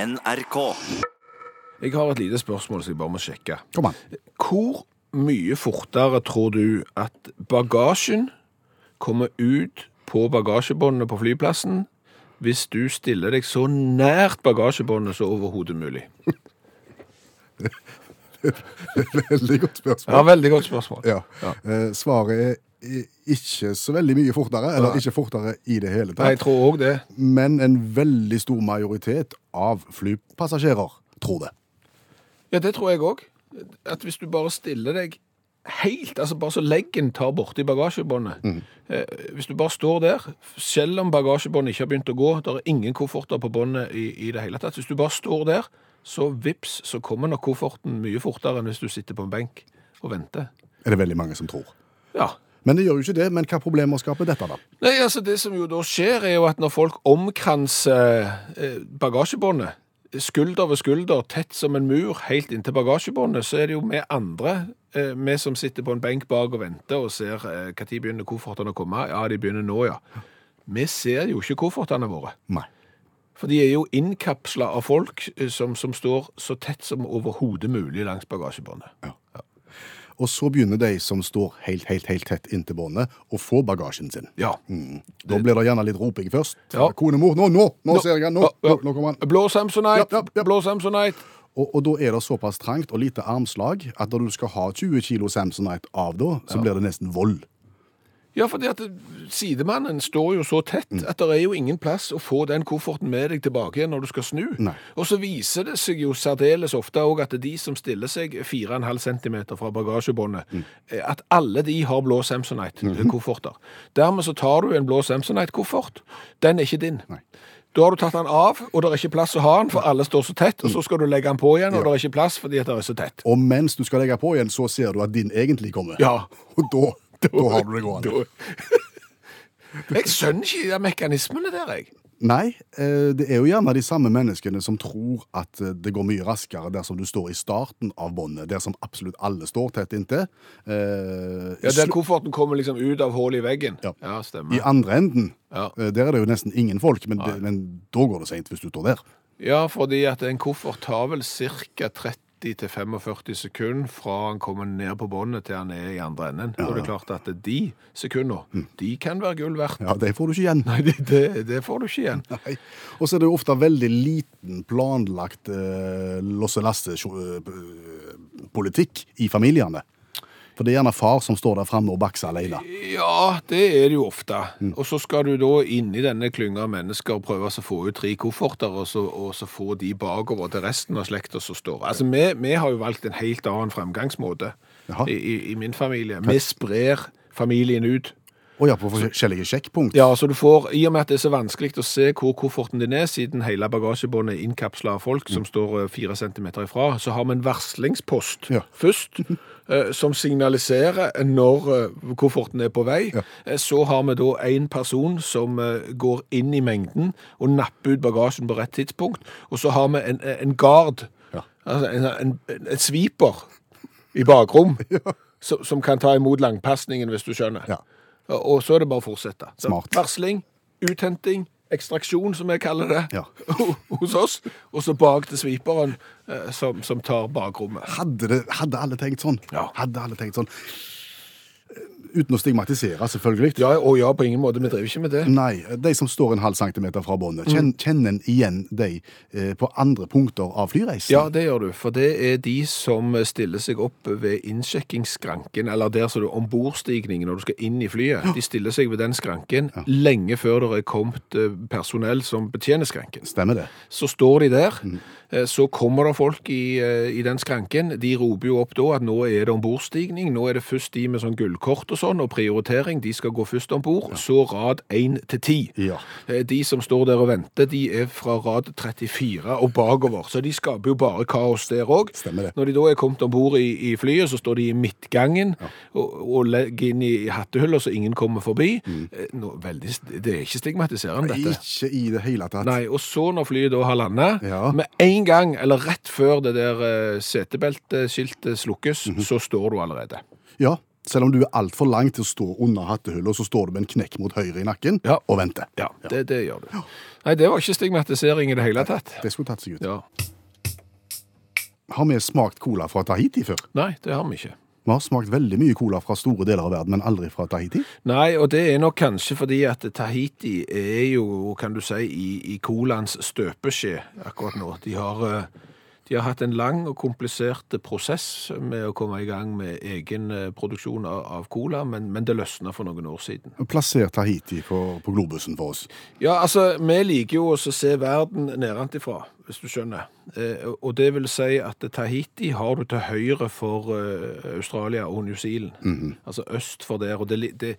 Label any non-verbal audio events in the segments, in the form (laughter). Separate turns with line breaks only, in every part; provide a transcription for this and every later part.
NRK.
Jeg har et lite spørsmål som jeg bare må sjekke.
Kom an.
Hvor mye fortere tror du at bagasjen kommer ut på bagasjebåndet på flyplassen hvis du stiller deg så nært bagasjebåndet som overhodet mulig?
(laughs) Veldig godt spørsmål.
Ja, veldig godt spørsmål.
Ja. Eh, Svaret er i- ikke så veldig mye fortere, eller
Nei.
ikke fortere i det hele
Nei, jeg
tatt.
tror òg det.
Men en veldig stor majoritet av flypassasjerer tror det.
Ja, det tror jeg òg. At hvis du bare stiller deg helt, altså bare så leggen tar borti bagasjebåndet eh, Hvis du bare står der, selv om bagasjebåndet ikke har begynt å gå, det er ingen kofferter på båndet i, i det hele tatt Hvis du bare står der, så vips, så kommer nok kofferten mye fortere enn hvis du sitter på en benk og venter.
Er det veldig mange som tror.
Ja.
Men det gjør jo ikke det. Men hva problemer skaper dette, da?
Nei, altså Det som jo da skjer, er jo at når folk omkranser eh, bagasjebåndet, skulder ved skulder, tett som en mur, helt inntil bagasjebåndet, så er det jo vi andre, eh, vi som sitter på en benk bak og venter og ser eh, når begynner koffertene å komme. Ja, de begynner nå, ja. Vi ser jo ikke koffertene våre.
Nei.
For de er jo innkapsla av folk eh, som, som står så tett som overhodet mulig langs bagasjebåndet.
Og så begynner de som står helt, helt, helt tett inntil båndet, å få bagasjen sin.
Ja.
Mm. Da blir det gjerne litt roping først.
Ja.
Konemor, nå, nå! Nå, ser jeg han, nå,
Ja, ja.
nå, nå kommer han.
Blå Samsonite!
Ja, ja, ja.
Blå Samsonite!
Og, og da er det såpass trangt og lite armslag at når du skal ha 20 kilo Samsonite av da, så blir det nesten vold.
Ja, fordi at sidemannen står jo så tett
Mm.
at det er jo ingen plass å få den kofferten med deg tilbake igjen når du skal snu.
Nei.
Og så viser det seg jo særdeles ofte òg at de som stiller seg 4,5 cm fra bagasjebåndet,
Mm.
eh, at alle de har blå Samsonite-kofferter.
Mm.
Dermed så tar du en blå Samsonite-koffert. Den er ikke din.
Nei.
Da har du tatt den av, og det er ikke plass å ha den, for alle står så tett,
Mm.
og så skal du legge den på igjen, og det er ikke plass fordi at det er så tett.
Og mens du skal legge på igjen, så ser du at din egentlig kommer.
Ja.
(laughs) Og da, da har du det gående.
Da- Jeg skjønner ikke de mekanismene der, jeg.
Nei, eh, det er jo gjerne de samme menneskene som tror at eh, det går mye raskere dersom du står i starten av båndet, der som absolutt alle står tett inntil. Eh, i
Ja,
slu-
Der kofferten kommer liksom ut av hullet i veggen.
Ja. I
stemmer.
andre enden,
Ja.
eh, der er det jo nesten ingen folk, men, det, men da går det seint hvis du står der.
Ja, fordi at en koffert tar vel ca. 30-45 sekunder fra han kommer ned på båndet til han er i andre enden. Og det er klart at de sekundene, de kan være gull verdt.
Mm. Ja, Det får du ikke igjen.
Nei, det, det, det får du ikke igjen.
(laughs) Nei. Og så er det jo ofte veldig liten planlagt eh, losse-lasse-politikk eh, i familiene. For det er gjerne far som står der framme og bakser alene.
Ja, det er det jo ofte. Og så skal du da inn i denne klynga av mennesker og prøve å få ut tre kofferter, og så, og så få de bakover til resten av slekta som står. Altså, vi, vi har jo valgt en helt annen fremgangsmåte
Jaha.
i, i, i min familie. Vi sprer familien ut.
Og ja, på forskjellige sjekkpunkt. (laughs)
Ja, så du får, I og med at det er så vanskelig å se hvor kofferten din er, siden hele bagasjebåndet er innkapsla av folk
Mm.
som står eh, fire centimeter ifra, så har vi en varslingspost
Ja.
først,
(laughs)
eh, som signaliserer når eh, kofferten er på vei.
Ja.
Eh, Så har vi da én person som eh, går inn i mengden og napper ut bagasjen på rett tidspunkt. Og så har vi en, eh, en gard,
Ja.
altså en, en, en sviper i bakrom, som, som kan ta imot langpasningen, hvis du skjønner.
Ja.
Og så er det bare å fortsette. Så
Smart.
Varsling, uthenting, ekstraksjon, som vi kaller det
Ja.
(laughs) hos oss. Og så bak til sviperen, eh, som, som tar bakrommet.
Hadde, det, hadde alle tenkt sånn?
Ja.
Hadde alle tenkt sånn? Uten å stigmatisere, selvfølgelig.
Ja, og ja, på ingen måte. Vi driver ikke med det.
Nei, de som står en halv centimeter fra båndet, kjenn,
Mm.
kjenner en igjen de eh, på andre punkter av flyreisen?
Ja, det gjør du. For det er de som stiller seg opp ved innsjekkingsskranken, eller der som du ombordstigningen når du skal inn i flyet. De stiller seg ved den skranken lenge før det er kommet eh, personell som betjener skranken.
Stemmer det.
Så står de der,
Mm.
eh, så kommer det folk i, eh, i den skranken. De roper jo opp da at nå er det ombordstigning, nå er det først de med sånn gullkort og sånn, og prioritering, de skal gå først ombord, så rad 1 til 10.
Ja.
Eh, De som står der og venter, de er fra rad 34 og bakover, så de skaper jo bare kaos der òg.
Stemmer det.
Når de da er kommet ombord i, i flyet, så står de i midtgangen og, og legger inn i hattehullet så ingen kommer forbi.
Mm.
Eh, Nå, veldig, st- det er ikke stigmatiserende, dette.
Ikke i det hele tatt.
Nei, og så når flyet da har landet,
Ja.
med en gang, eller Mhm. rett før det der eh, setebelteskiltet slukkes, så står du allerede.
Ja, Selv om du er altfor lang til å stå under hattehullet, så står du med en knekk mot høyre i nakken
Ja.
og venter.
Ja, det, det gjør du. Nei, det var ikke stigmatisering i det hele tatt.
Det skulle tatt seg ut.
Ja.
Har vi smakt cola fra Tahiti før?
Nei, det har vi ikke.
Vi har smakt veldig mye cola fra store deler av verden, men aldri fra Tahiti.
Nei, og det er nok kanskje fordi at Tahiti er jo, kan du si, i, i colaens støpeskje akkurat nå. De har, eh, de har hatt en lang og komplisert prosess med å komme i gang med egen eh, produksjon av, av cola, men, men det løsna for noen år siden.
Plasser Tahiti på, på globusen for oss.
Ja, altså, vi liker jo også å se verden nedenfra, hvis du skjønner. Eh, og det vil si at Tahiti har du til høyre for eh, Australia og New Zealand. Altså øst for der, og det, li- det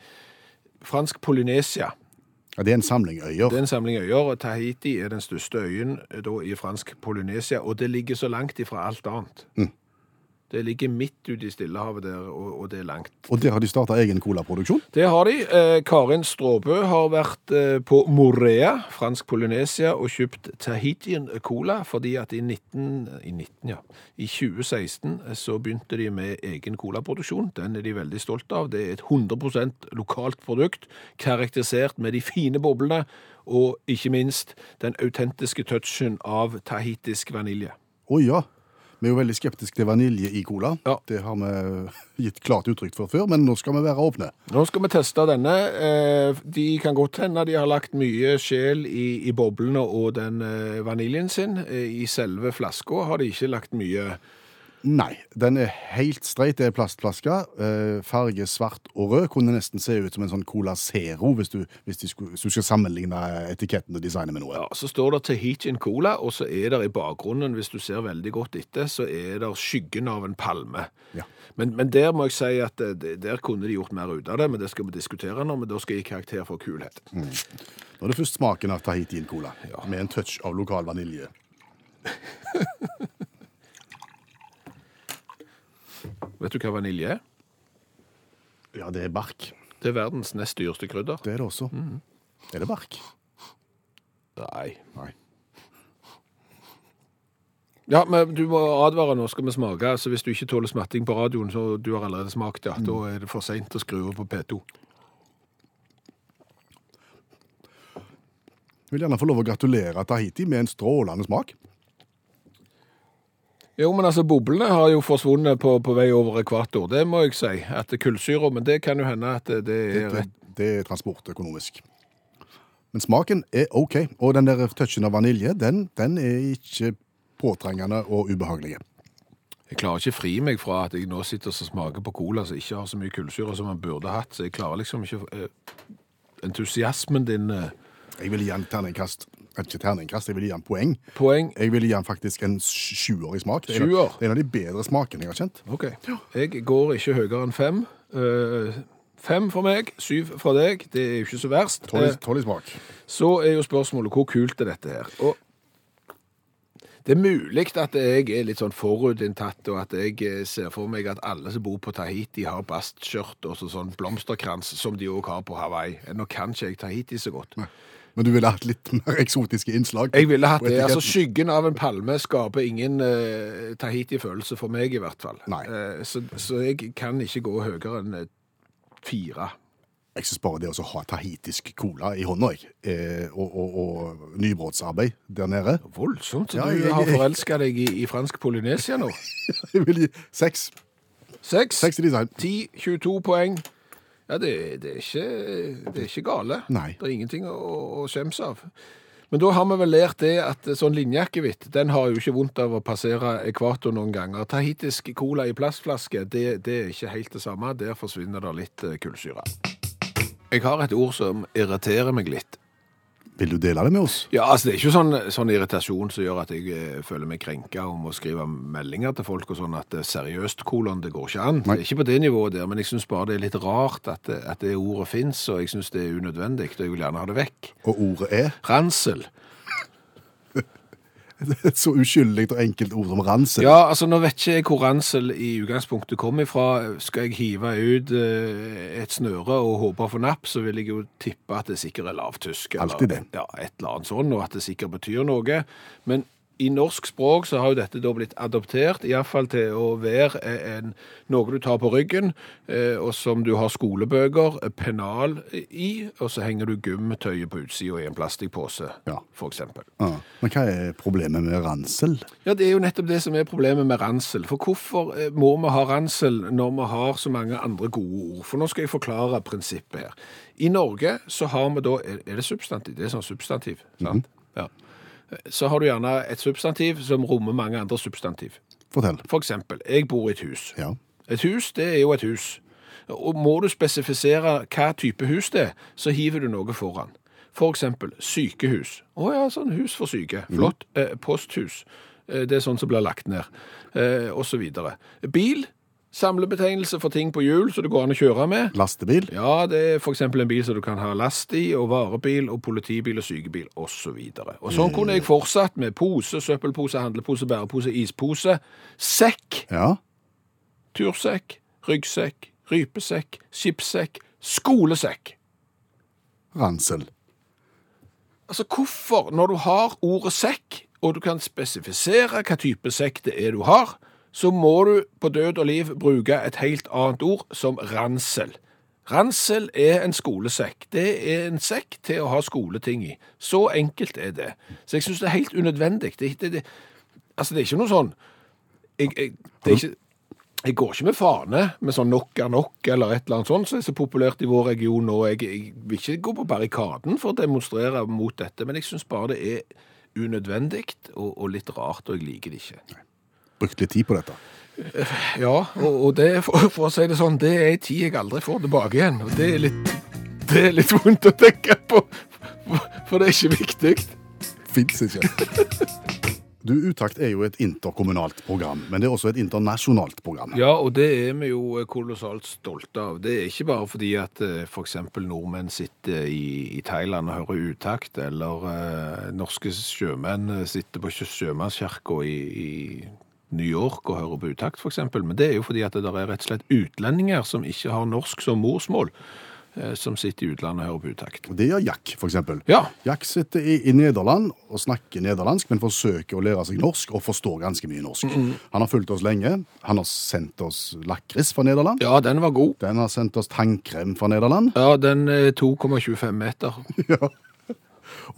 Fransk Polynesia,
Ja, det er en samling øyer.
det er en samling øyer, og Tahiti er den største øyen eh, da, i fransk Polynesia, og det ligger så langt ifra alt annet. Det ligger midt ute i Stillehavet der, og, og det er langt.
Og der har de starta egen colaproduksjon.
Det har de. Eh, Karin Stråbø har vært eh, på Morea, fransk Polynesia, og kjøpt Tahitian Cola, fordi at i 19... I 19, ja. I 2016 så begynte de med egen colaproduksjon. Den er de veldig stolte av. Det er et 100 lokalt produkt, karakterisert med de fine boblene, og ikke minst den autentiske touchen av tahitisk vanilje.
Å ja. Vi er jo veldig skeptiske til vanilje i cola.
Ja.
Det har vi gitt klart uttrykk for før, men nå skal vi være åpne.
Nå skal vi teste denne. Eh, De kan godt hende de har lagt mye sjel i, i boblene og den eh, vaniljen sin. Eh, I selve flaska har de ikke lagt mye.
Nei, den er helt streit. Det er plastflaske. Eh, farge svart og rød. Kunne nesten se ut som en sånn Cola Zero hvis du, hvis de skulle, hvis du skal sammenligne etiketten og designet med noe.
Ja, Så står det Tahitian Cola, og så er det i bakgrunnen, hvis du ser veldig godt etter, så er det skyggen av en palme.
Ja.
Men, men der må jeg si at eh, det- der kunne de gjort mer ut av det, men det skal vi diskutere nå. Men da skal jeg gi karakter for kulhet.
Nå er det først smaken av Tahitian Cola, med en touch av lokal vanilje.
Vet du hva vanilje er?
Ja, det er bark. Mhm.
Det er verdens nest dyreste krydder.
Det er det også. Er det bark?
Nei. Ja, men du må advare nå, skal vi smake. Så hvis du ikke tåler smatting på radioen, så du har allerede smakt det, da er det for seint å skru over på P2.
Vil gjerne få lov å gratulere Tahiti med en strålende smak.
Jo, men altså, boblene har jo forsvunnet på, på vei over ekvator, det må jeg si. At det er kullsyre, men det kan jo hende at det, det er
Det,
rett.
det er transportøkonomisk. Men smaken er OK, og den der touchen av vanilje, den, den er ikke påtrengende og ubehagelig.
Jeg klarer ikke fri meg fra at jeg nå sitter og smaker på cola som ikke har så mye kullsyre som man burde hatt, så jeg klarer liksom ikke eh, Entusiasmen din eh,
Jeg ville gi den terningkast Ikke terningkast, jeg ville gi den poeng.
Poeng.
Jeg ville gi den faktisk en sjuer i smak. Det er, en-
Sjuer?
det er en av de bedre smakene jeg har kjent.
Ok. Jeg går ikke høyere enn fem. Eh, Fem for meg, syv for deg. Det er jo ikke så verst.
Tolv i-
Eh,
tolv i smak.
Så er jo spørsmålet hvor kult er dette her? Og det er mulig at jeg er litt sånn forutinntatt, og at jeg eh, ser for meg at alle som bor på Tahiti, har bastskjørt og så sånn blomsterkrans, som de òg har på Hawaii. Eh, Nå kan ikke jeg Tahiti så godt.
Men du ville hatt litt mer eksotiske innslag?
Jeg ville hatt
på
det. altså
etiketten.
Skyggen av en palme skaper ingen eh, Tahiti-følelse for meg, i hvert fall.
Nei.
Eh, så, så jeg kan ikke gå høyere enn eh, fire.
Jeg synes bare det å ha tahitisk cola i hånda, jeg, eh, og, og, og nybrottsarbeid der nede (laughs)
Voldsomt.
Ja,
du
jeg-
har
jeg-
forelska deg i, i fransk Polynesia
(laughs)
nå.
Jeg vil gi seks.
Seks.
Seks til design.
10, 22 poeng. Ja, det, det, er, ikke, det er ikke gale.
Nei.
Det er ingenting å, å skjemmes av. Men da har vi vel lært det at sånn linjeakevitt, den har jo ikke vondt av å passere ekvator noen ganger. Tahitisk cola i plastflaske, det, det er ikke helt det samme. Der forsvinner det litt eh, kullsyre. Jeg har et ord som irriterer meg litt.
Vil du dele det med oss?
Ja, altså Det er ikke sånn, sånn irritasjon som gjør at jeg eh, føler meg krenka om å skrive meldinger til folk og sånn at eh, seriøst, kolon, det går ikke an.
Nei.
Det er ikke på det nivået der, men jeg syns bare det er litt rart at, det- at det ordet fins, og jeg syns det er unødvendig, og jeg vil gjerne ha det vekk.
Og ordet er (laughs)
Ransel.
et så uskyldig og enkelt ord som ransel.
Ja, altså nå vet ikke jeg hvor ransel i utgangspunktet kom ifra. Skal jeg hive ut eh, et snøre og håpe å få napp, så vil jeg jo tippe at det sikkert er lavtysk. eller-
Altid det.
Ja, et eller annet sånn, og at det sikkert betyr noe. Men i norsk språk så har jo dette da blitt adoptert, iallfall til å være eh, en, noe du tar på ryggen, eh, og som du har skolebøker, eh, pennal i, og så henger du gummitøyet på utsida i en plastikkpose,
Ja.
for eksempel.
Ja. Ah. Men hva er problemet med ransel?
Ja, det er jo nettopp det som er problemet med ransel. For hvorfor eh, må vi ha ransel når vi har så mange andre gode ord? For nå skal jeg forklare prinsippet her. I Norge så har vi da Er er det substantiv? Det er sånn substantiv, sant? Ja. Så har du gjerne et substantiv som rommer mange andre substantiv.
Fortell.
For eksempel, jeg bor i et hus.
Ja.
Et hus, det er jo et hus. Og må du spesifisere hva type hus det er, så hiver du noe foran. For eksempel sykehus. Å ja, sånn hus for syke. Flott. Eh, posthus. Eh, det er sånn som blir lagt ned. Eh, og så videre. Bil. Samlebetegnelse for ting på hjul som det går an å kjøre med.
Lastebil?
Ja, det er f.eks. en bil som du kan ha last i, og varebil, og politibil og sykebil osv. Og, og sånn kunne jeg fortsatt med pose, søppelpose, handlepose, bærepose, ispose, sekk,
Ja.
tursekk, ryggsekk, rypesekk, skipssekk, skolesekk.
Ransel.
Altså hvorfor, når du har ordet sekk, og du kan spesifisere hva type sekk det er du har, så må du på død og liv bruke et helt annet ord som ransel. Ransel er en skolesekk. Det er en sekk til å ha skoleting i. Så enkelt er det. Så jeg syns det er helt unødvendig. Det, det, det, altså, det er ikke noe sånn jeg, jeg, det er ikke, jeg går ikke med fane med sånn nok er nok eller et eller annet sånt som er så populært i vår region nå. Jeg, jeg vil ikke gå på barrikaden for å demonstrere mot dette, men jeg syns bare det er unødvendig og, og litt rart, og jeg liker det ikke.
Brukt litt tid på dette.
Ja, og, og det, for, for å si det sånn, det er en tid jeg aldri får tilbake igjen, og det er litt, det er litt vondt å tenke på, for, for det er ikke viktig.
Fins ikke. Du, Utakt er jo et interkommunalt program, men det er også et internasjonalt program.
Ja, og det er vi jo kolossalt stolte av. Det er ikke bare fordi at f.eks. nordmenn sitter i, i Thailand og hører utakt, eller eh, norske sjømenn eh, sitter på sjø- sjømannskirka i, i New York og hører på utakt, f.eks., men det er jo fordi at det der er rett og slett utlendinger som ikke har norsk som morsmål, eh, som sitter i utlandet og hører på utakt.
Det gjør Jack, for eksempel.
Ja.
Jack sitter i, i Nederland og snakker nederlandsk, men forsøker å lære seg norsk og forstår ganske mye norsk.
Mhm.
Han har fulgt oss lenge. Han har sendt oss lakris fra Nederland.
Ja, den var god.
Den har sendt oss tannkrem fra Nederland. (laughs)
Ja, den eh, er 2,25 meter.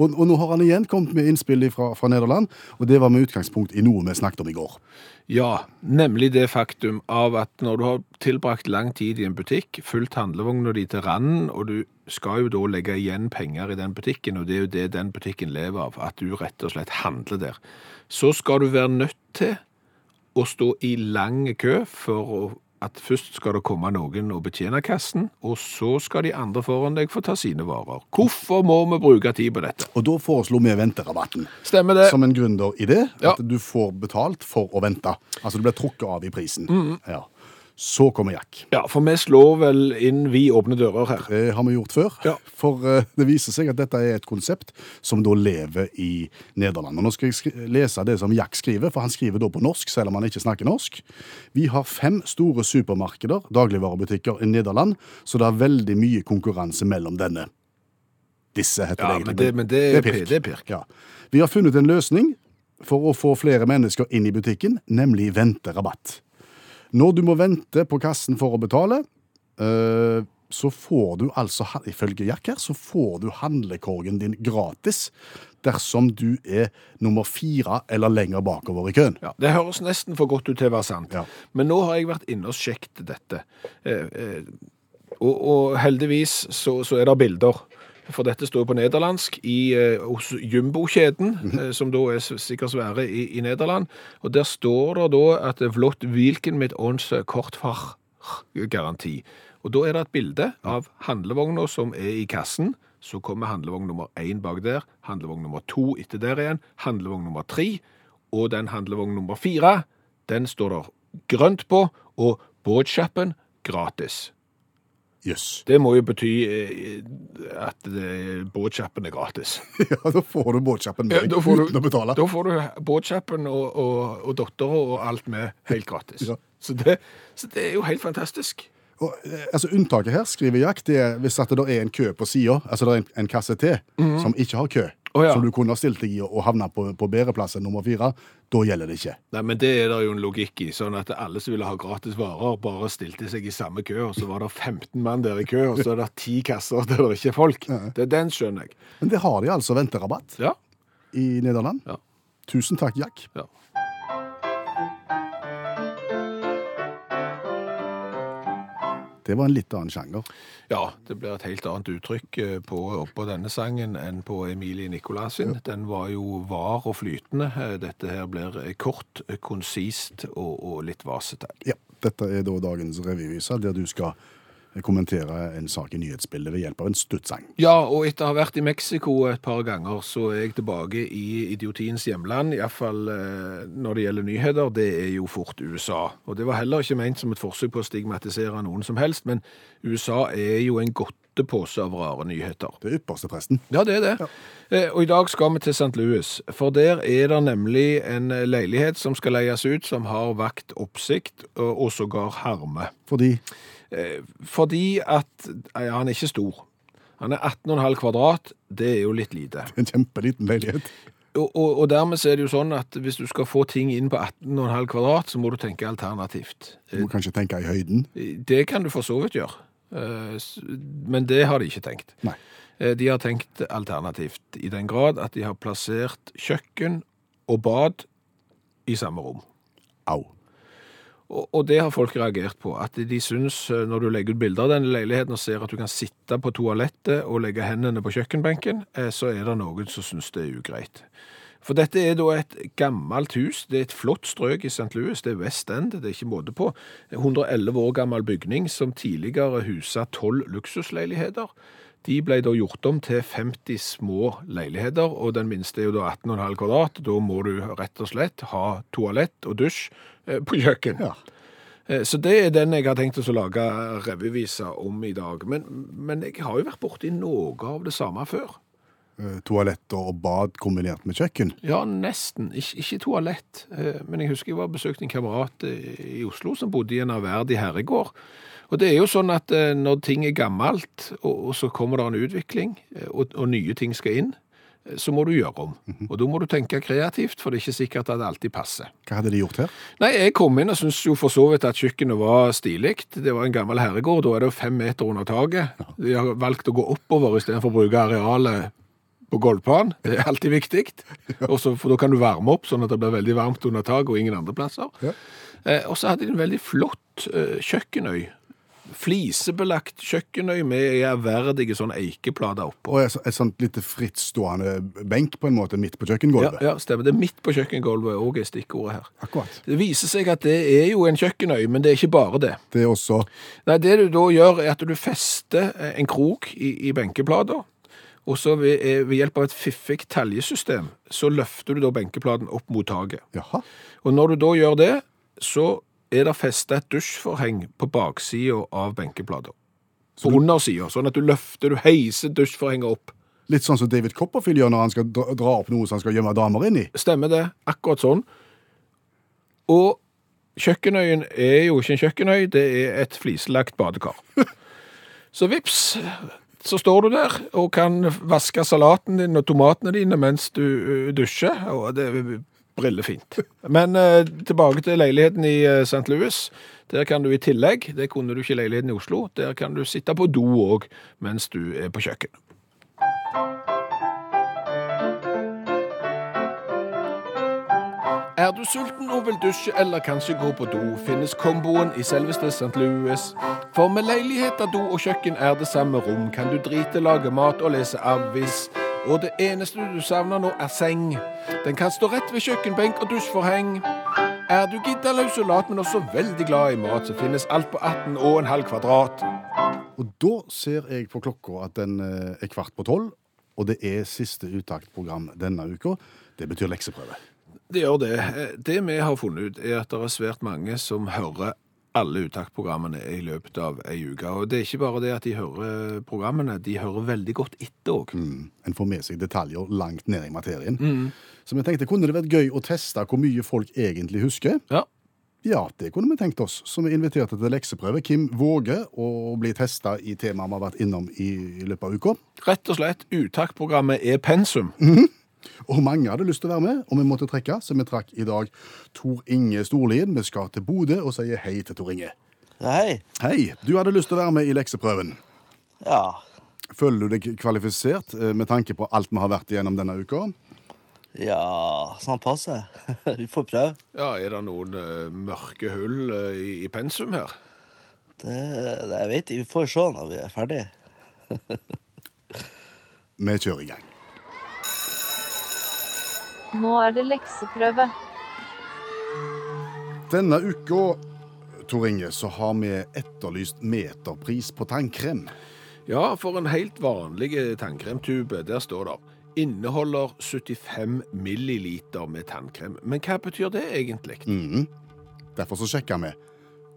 Og, og nå har han igjen kommet med innspill fra, fra Nederland, og det var med utgangspunkt i noe vi snakket om i går.
Ja, nemlig det faktum av at når du har tilbrakt lang tid i en butikk, fulgt handlevogna di til randen, og du skal jo da legge igjen penger i den butikken, og det er jo det den butikken lever av, at du rett og slett handler der, så skal du være nødt til å stå i lang kø for å at først skal det komme noen og betjene kassen, og så skal de andre foran deg få ta sine varer. Hvorfor må vi bruke tid på dette?
Og da foreslo vi venterabatten.
Stemmer det?
Som en gründeridé.
Eh, Ja.
At du får betalt for å vente. Altså du blir trukket av i prisen.
Mm.
Ja. Så kommer Jack.
Ja, for vi slår vel inn vi åpne dører her.
Det har vi gjort før.
Ja.
For eh, det viser seg at dette er et konsept som da lever i Nederland. Og nå skal jeg skri- lese det som Jack skriver, for han skriver da på norsk, selv om han ikke snakker norsk. Vi har fem store supermarkeder, dagligvarebutikker, i Nederland, så det er veldig mye konkurranse mellom denne. Disse heter
Ja,
det
men
egentlig.
det, men det, er pirk. Det er pirk.
Ja. Vi har funnet en løsning for å få flere mennesker inn i butikken, nemlig venterabatt. Når du må vente på kassen for å betale, eh, så får du altså, ha- ifølge Jack her, så får du handlekorgen din gratis dersom du er nummer fire eller lenger bakover i køen.
Ja, Det høres nesten for godt ut til å være sant.
Ja.
Men nå har jeg vært inne og sjekket dette. Eh, eh, og, og heldigvis så, så er det bilder. For dette står på nederlandsk i, eh, hos Jumbo-kjeden, eh, som da er s- sikkert svære i, i Nederland. Og der står det da at det er vlott hvilken mitt ånds kortfach garanti. Og da er det et bilde av handlevogna som er i kassen. Så kommer handlevogn nummer én bak der, handlevogn nummer to etter der igjen, handlevogn nummer tre, og den handlevogn nummer fire, den står der grønt på, og båtsjappen gratis.
Jøss. (laughs)
Det må jo bety eh, at det- båtsjappen er gratis.
Ja, da får du båtsjappen med
Ja,
deg
da får du-
uten å betale.
Da får du båtsjappen og, og, og dattera og alt med helt gratis.
Ja.
Så, det, så det er jo helt fantastisk.
Og, eh, altså Unntaket her, skriver Jack, det er hvis at det da er en kø på sida, altså det er en, en kasse til som ikke har kø.
Mhm. Å, ja.
som du kunne ha stilt deg i og havna på, på bedre plass enn nummer fire, da gjelder det ikke.
Nei, men det er det jo en logikk i, sånn at alle som ville ha gratis varer, bare stilte seg i samme kø, og så var det 15 mann der i kø, og så er det 10 kasser der det ikke er folk. Det er den skjønner jeg.
Men det har de altså venterabatt
Ja,
i Nederland.
Ja.
Tusen takk, Jack.
ja.
Det var en litt annen sjanger.
Ja, det blir et helt annet uttrykk eh, på, på denne sangen enn på Emilie Nicolas sin. Den var jo var og flytende. Eh, Dette her blir eh, kort, eh, konsist og, og litt vasete.
Ja, Dette er da dagens revyvise, der du skal eh, kommentere en sak i nyhetsbildet ved hjelp av en stuttsang.
Ja, og etter å ha vært i Mexico et par ganger, så er jeg tilbake i idiotiens hjemland, iallfall eh, når det gjelder nyheter, det er jo fort USA. Og det var heller ikke ment som et forsøk på å stigmatisere noen som helst, men USA er jo en godtepose av rare nyheter.
Det ypperste presten.
Ja, det er det. Eh, Og i dag skal vi til St. Louis, for der er det nemlig en eh, leilighet som skal leies ut, som har vakt oppsikt, og og sågar harme.
Fordi
Eh, Fordi at ja, han er ikke stor. Han er 18,5 kvadrat. Det er jo litt lite.
en kjempeliten leilighet.
Og, og, og dermed så er det jo sånn at hvis du skal få ting inn på 18,5 kvadrat, så må du tenke alternativt.
Du må kanskje tenke i høyden.
Eh, Det kan du for så vidt gjøre, Eh, s- men det har de ikke tenkt.
Nei.
Eh, De har tenkt alternativt i den grad at de har plassert kjøkken og bad i samme rom.
Au.
Og, og det har folk reagert på, at de syns, eh, når du legger ut bilder av denne leiligheten og ser at du kan sitte på toalettet og legge hendene på kjøkkenbenken, eh, så er det noen som syns det er ugreit. For dette er da et gammelt hus, det er et flott strøk i St. Louis, det er West End, det er ikke måte på. 111 år gammel bygning som tidligere husa 12 luksusleiligheter. De ble da gjort om til 50 små leiligheter, og den minste er jo da 18,5 kvadrat. Da må du rett og slett ha toalett og dusj eh, på kjøkken.
Ja.
Eh, Så det er den jeg har tenkt å lage revyvisa om i dag. Men, men jeg har jo vært borti noe av det samme før.
Eh, Toaletter og bad kombinert med kjøkken.
Ja, nesten. Ikk- ikke toalett. Eh, Men jeg husker jeg var besøkt en kamerat eh, i Oslo som bodde i en ærverdig herregård. Og det er jo sånn at eh, når ting er gammelt, og, og så kommer det en utvikling, eh, og, og nye ting skal inn, eh, så må du gjøre om. Og da må du tenke kreativt, for det er ikke sikkert at det alltid passer.
Hva hadde de gjort her?
Nei, jeg kom inn og syntes jo for så vidt at kjøkkenet var stilig. Det var en gammel herregård, da er det jo fem meter under taket. De har valgt å gå oppover istedenfor å bruke arealet på gulvplan. Det er alltid viktig. Og så- For da kan du varme opp, sånn at det blir veldig varmt under taket og ingen andre plasser.
Ja.
Eh, og så hadde de en veldig flott eh, kjøkkenøy. Flisebelagt kjøkkenøy med ærverdige sånne eikeplater oppå.
Og et, så- et sånt lite frittstående benk på en måte midt på kjøkkengulvet.
Ja, ja, stemmer. Det er midt på kjøkkengulvet òg er stikkordet her.
Akkurat.
Det viser seg at det er jo en kjøkkenøy, men det er ikke bare det.
Det er også
Nei, det du da gjør er at du fester eh, en krok i, i benkeplater, og så ved, eh, ved hjelp av et fiffig taljesystem, så løfter du da benkeplaten opp mot taket.
Jaha.
Og når du da gjør det, så er det festet et dusjforheng på baksiden av benkeplater. På undersiden, sånn at du løfter, du heiser dusjforhenget opp.
Litt sånn som David Copperfield gjør når han skal dra, dra opp noe som han skal gjemme damer inn i.
Stemmer det, akkurat sånn. Og kjøkkenøyen er jo ikke en kjøkkenøy, det er et flislagt badekar. (laughs) Så vips, så står du der og kan vaske salaten din og tomatene dine mens du ø, dusjer, og det er brillefint. Men ø, tilbake til leiligheten i ø, St. Louis. Der kan du i tillegg, det kunne du ikke i leiligheten i Oslo, der kan du sitte på do òg mens du er på kjøkkenet. Er du sulten og vil dusje eller kanskje gå på do, finnes komboen i selveste St. Louis. For med leiligheter, do og kjøkken er det samme rom, kan du drite, lage mat og lese avis. Og det eneste du savner nå, er seng. Den kan stå rett ved kjøkkenbenk og dusjforheng. Er du gidda løs og lat, men også veldig glad i mat, så finnes alt på 18,5 kvadrat.
Og da ser jeg på klokka at den eh, er kvart på tolv, og det er siste uttaktprogram denne uka. Det betyr lekseprøve.
Det gjør det. Eh, Det vi har funnet ut, er at det er svært mange som hører alle uttaktprogrammene i løpet av ei uke. Og det er ikke bare det at de hører programmene, de hører veldig godt etter òg.
Mm. En får med seg detaljer langt ned Mm. i materien. Så vi tenkte, kunne det vært gøy å teste hvor mye folk egentlig husker?
Ja.
Ja, det kunne vi tenkt oss, så vi inviterte til lekseprøve. Kim våger å bli testa i temaet vi har vært innom i, i løpet av uka.
Rett og slett uttaktprogrammet er pensum.
Og mange hadde lyst til å være med, og vi måtte trekke, så vi trakk i dag Tor Inge Storlien. Vi skal til Bodø og sier hei til Tor Inge.
Hei.
Hei, du hadde lyst til å være med i lekseprøven.
Ja.
Føler du deg kvalifisert eh, med tanke på alt vi har vært igjennom denne uka?
Ja, sånn passe. (laughs) Vi får prøve.
Ja, er det noen eh, mørke hull eh, i, i pensum her?
Det, det jeg vet, vi får se når vi er ferdig.
Vi kjører i gang.
Nå er det lekseprøve.
Denne uka, Tor Inge, så har vi etterlyst meterpris på tannkrem.
Ja, for en helt vanlig eh, tannkremtube, der står det inneholder 75 milliliter med tannkrem. Men hva betyr det egentlig?
Mhm. Derfor så sjekker vi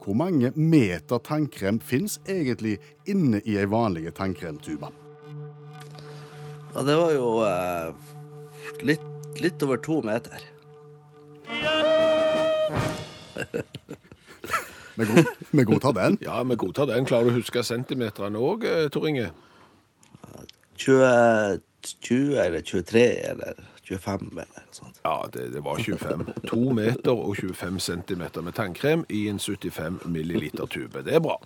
hvor mange meter tannkrem fins egentlig inne i ei vanlig tannkremtube.
Ja, det var jo eh, litt, litt over to meter.
Vi god- (laughs) vi godtar den.
Ja, vi godtar den. Klarer du å huske centimeterne òg, Tor Inge?
20, 20 eller 23 eller 25 eller noe sånt.
Ja, det, det var 25. 2 meter og 25 centimeter med tannkrem i en 75 milliliter tube. Det er bra.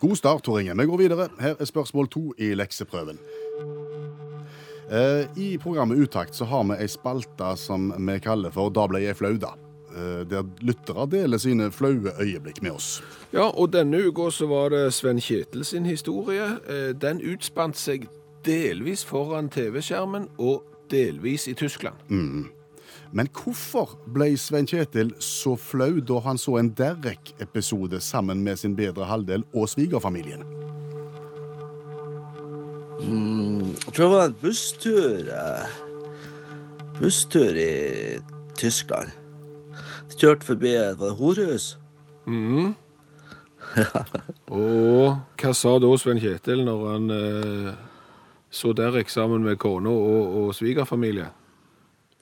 God start, Tor Inge. Vi går videre. Her er spørsmål to i lekseprøven. Eh, I programmet Utakt så har vi ei spalte som vi kaller for Da ble jeg flau, da. Eh, der lyttere deler sine flaue øyeblikk med oss.
Ja, og denne uka så var det Sven Kjetil sin historie. Eh, Den utspant seg delvis foran TV-skjermen og delvis i Tyskland.
Men hvorfor ble Svein Kjetil så flau da han så en Derek-episode sammen med sin bedre halvdel og svigerfamilien?
Jeg tror det var en busstur eh, Busstur i Tyskland. Kjørte forbi et var det horehus.
Og hva sa da Sven Kjetil når han eh, så Derek sammen med kona og, og svigerfamilie?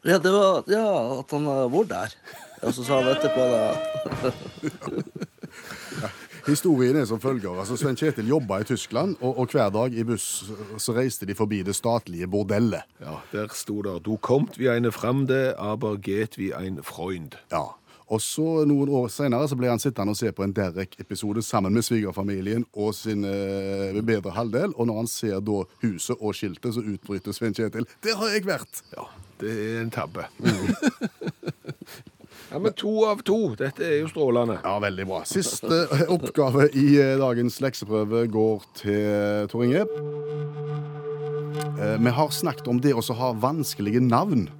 Ja, det var ja, at han hadde vært der. Og så sa han etterpå da
Historien er som følger. altså Svein Kjetil jobba i Tyskland, og, og hver dag i buss så reiste de forbi det statlige bordellet.
Ja, der sto det 'Du kommt wie eine Fremde, aber geht wie ein Freund'.
Ja. Og så Noen år senere så ble han sittende og se på en Derek-episode sammen med svigerfamilien og sin eh, bedre halvdel. Og når han ser da huset og skiltet, så utbryter Svein Kjetil 'Der har jeg vært'!
Ja, det er en tabbe. (laughs) ja, men to av to. Dette er jo strålende.
Ja, veldig bra. Siste oppgave i eh, dagens lekseprøve går til Tor Inge. Eh, Vi har snakket om det også å ha vanskelige navn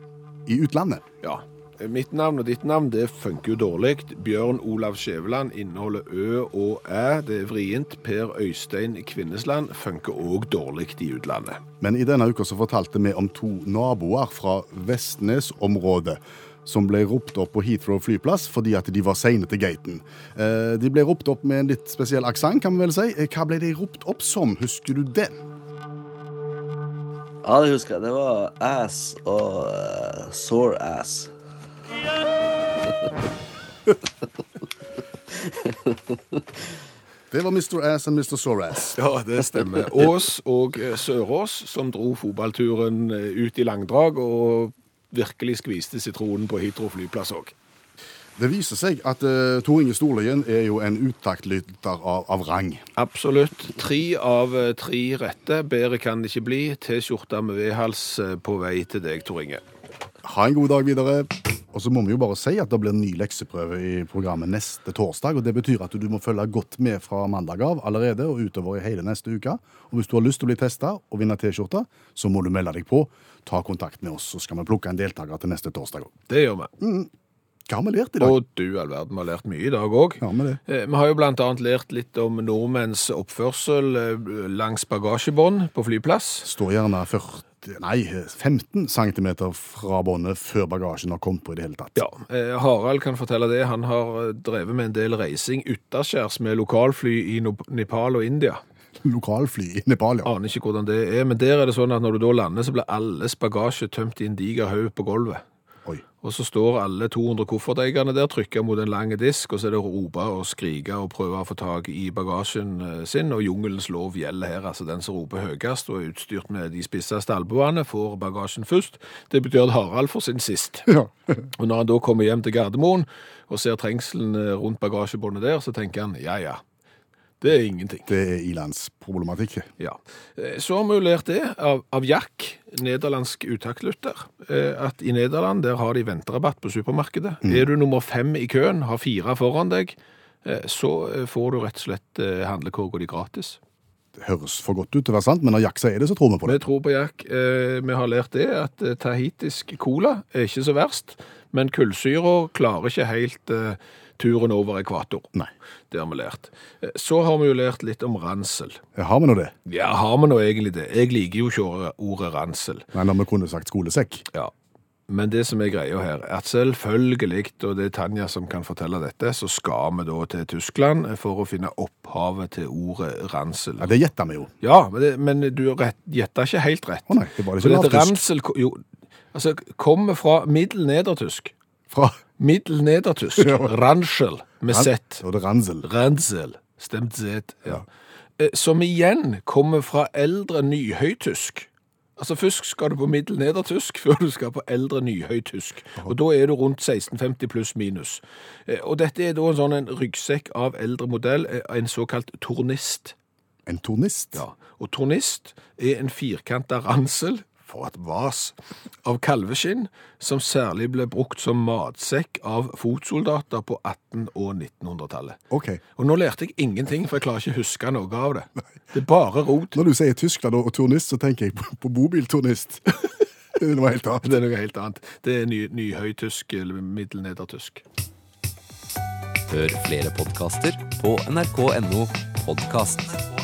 i utlandet.
Ja. Eh, Mitt navn og ditt navn det funker jo dårlig. Bjørn Olav Skjæveland inneholder Ø og Æ. Det er vrient. Per Øystein Kvinnesland funker òg dårlig i utlandet.
Men i denne uka så fortalte vi om to naboer fra Vestnes-området som ble ropt opp på Heathrow flyplass fordi at de var seine til gaten. Eh, De ble ropt opp med en litt spesiell aksent, kan vi vel si. Eh, Hva ble de ropt opp som? Husker du det?
Ja, det husker jeg. Det var ass og eh, sore ass.
Det var eh, Mr. Ass and Mr. Sorass.
Ja, det stemmer. (laughs) Ås og eh, Sørås som dro fotballturen eh, ut i langdrag og virkelig skviste sitronen på Hydro flyplass òg.
Det viser seg at uh, Tor Inge Storlien er jo en utaktlytter av, av rang.
Absolutt. Tre av eh, tre rette. Bedre kan det ikke bli. T-skjorte med V-hals eh, på vei til deg, Tor Inge.
Ha en god dag videre. Og så må vi jo bare si at det blir en ny lekseprøve i programmet neste torsdag. og Det betyr at du må følge godt med fra mandag av allerede og utover i hele neste uke. Og Hvis du har lyst til å bli testa og vinne T-skjorte, så må du melde deg på. Ta kontakt med oss, så skal vi plukke en deltaker til neste torsdag òg.
Det gjør vi.
Hva har vi lært i dag?
Og du all verden, vi har lært mye i dag òg.
Mm. Ja, med det.
Eh, Vi har jo blant annet lært litt om nordmenns oppførsel eh, langs bagasjebånd på flyplass.
Står gjerne 40, nei, 15 cm fra båndet før bagasjen har kommet på i det hele tatt.
Ja, eh, Harald kan fortelle det. Han har eh, drevet med en del reising ytterskjærs med lokalfly i No- Nepal og India.
Lokalfly i Nepal, ja.
Aner ikke hvordan det er, men der er det sånn at når du da lander, så blir alles bagasje tømt i en diger haug på gulvet.
Oi.
Og så står alle 200 kofferteierne der, trykker mot en lang disk, og så er det å rope og skrike og prøve å få tak i bagasjen eh, sin, og jungelens lov gjelder her. Altså den som roper høyest og er utstyrt med de spisseste albuene, får bagasjen først. Det betyr at Harald får sin sist.
Ja.
Og når han da kommer hjem til Gardermoen og ser trengselen eh, rundt bagasjebåndet der, så tenker han ja ja, det er ingenting.
Det er ilandsproblematikk.
Ja. Eh, Så har vi jo lært det av, av Jack, nederlandsk uttaktlytter, eh, at i Nederland der har de venterabatt på supermarkedet. Er du nummer fem i køen, har fire foran deg, eh, så eh, får du rett og slett eh, handlekorga di gratis.
Det høres for godt ut til å være sant, men når Jack sier det, så tror vi på det.
Vi tror på Jack. Eh, vi har lært det at eh, tahitisk cola er ikke så verst, men kullsyra klarer ikke helt eh, turen over ekvator.
Nei.
Det har vi lært. Eh, så har vi jo lært litt om ransel.
Har vi nå det?
Ja, har vi nå egentlig det? Jeg liker jo ikke ordet- ordet ransel.
Nei, når vi kunne sagt skolesekk.
Ja. Men det som er greia her, er at selvfølgelig, og det er Tanja som kan fortelle dette, så skal vi da til Tyskland for å finne opphavet til ordet ransel.
Ja, det gjetter vi jo.
Ja, men, det, men du rett- gjetta ikke helt rett.
Å nei, det var ikke
For dette
lavtysk.
Ramsel ko- jo, altså, kommer fra middelnedertysk.
Fra
Middelnedertysk. Ransel med Z.
Og det er ransel.
Ransel. Stemt Z. Ja. Eh, Som igjen kommer fra eldre nyhøytysk. Altså Først skal du på middelnedertysk (laughs) før du skal på eldre nyhøytysk. Og da er du rundt 1650 pluss minus. Eh, Og dette er da en sånn en ryggsekk av eldre modell, eh, en såkalt tornist.
En tornist.
Ja, og tornist er en firkanta ransel for et vas av kalveskinn, som særlig ble brukt som matsekk av fotsoldater på 1800- og 1900-tallet.
Ok.
Og nå lærte jeg ingenting, for jeg klarer ikke å huske noe av det. Det er bare rot.
Når du sier Tyskland og og turnist, så tenker jeg på, på bobilturnist. (laughs) det er noe helt annet.
Det er noe helt annet. Det er ny, nyhøytysk eller middelnedertysk.
Hør flere podkaster på nrk.no podkast.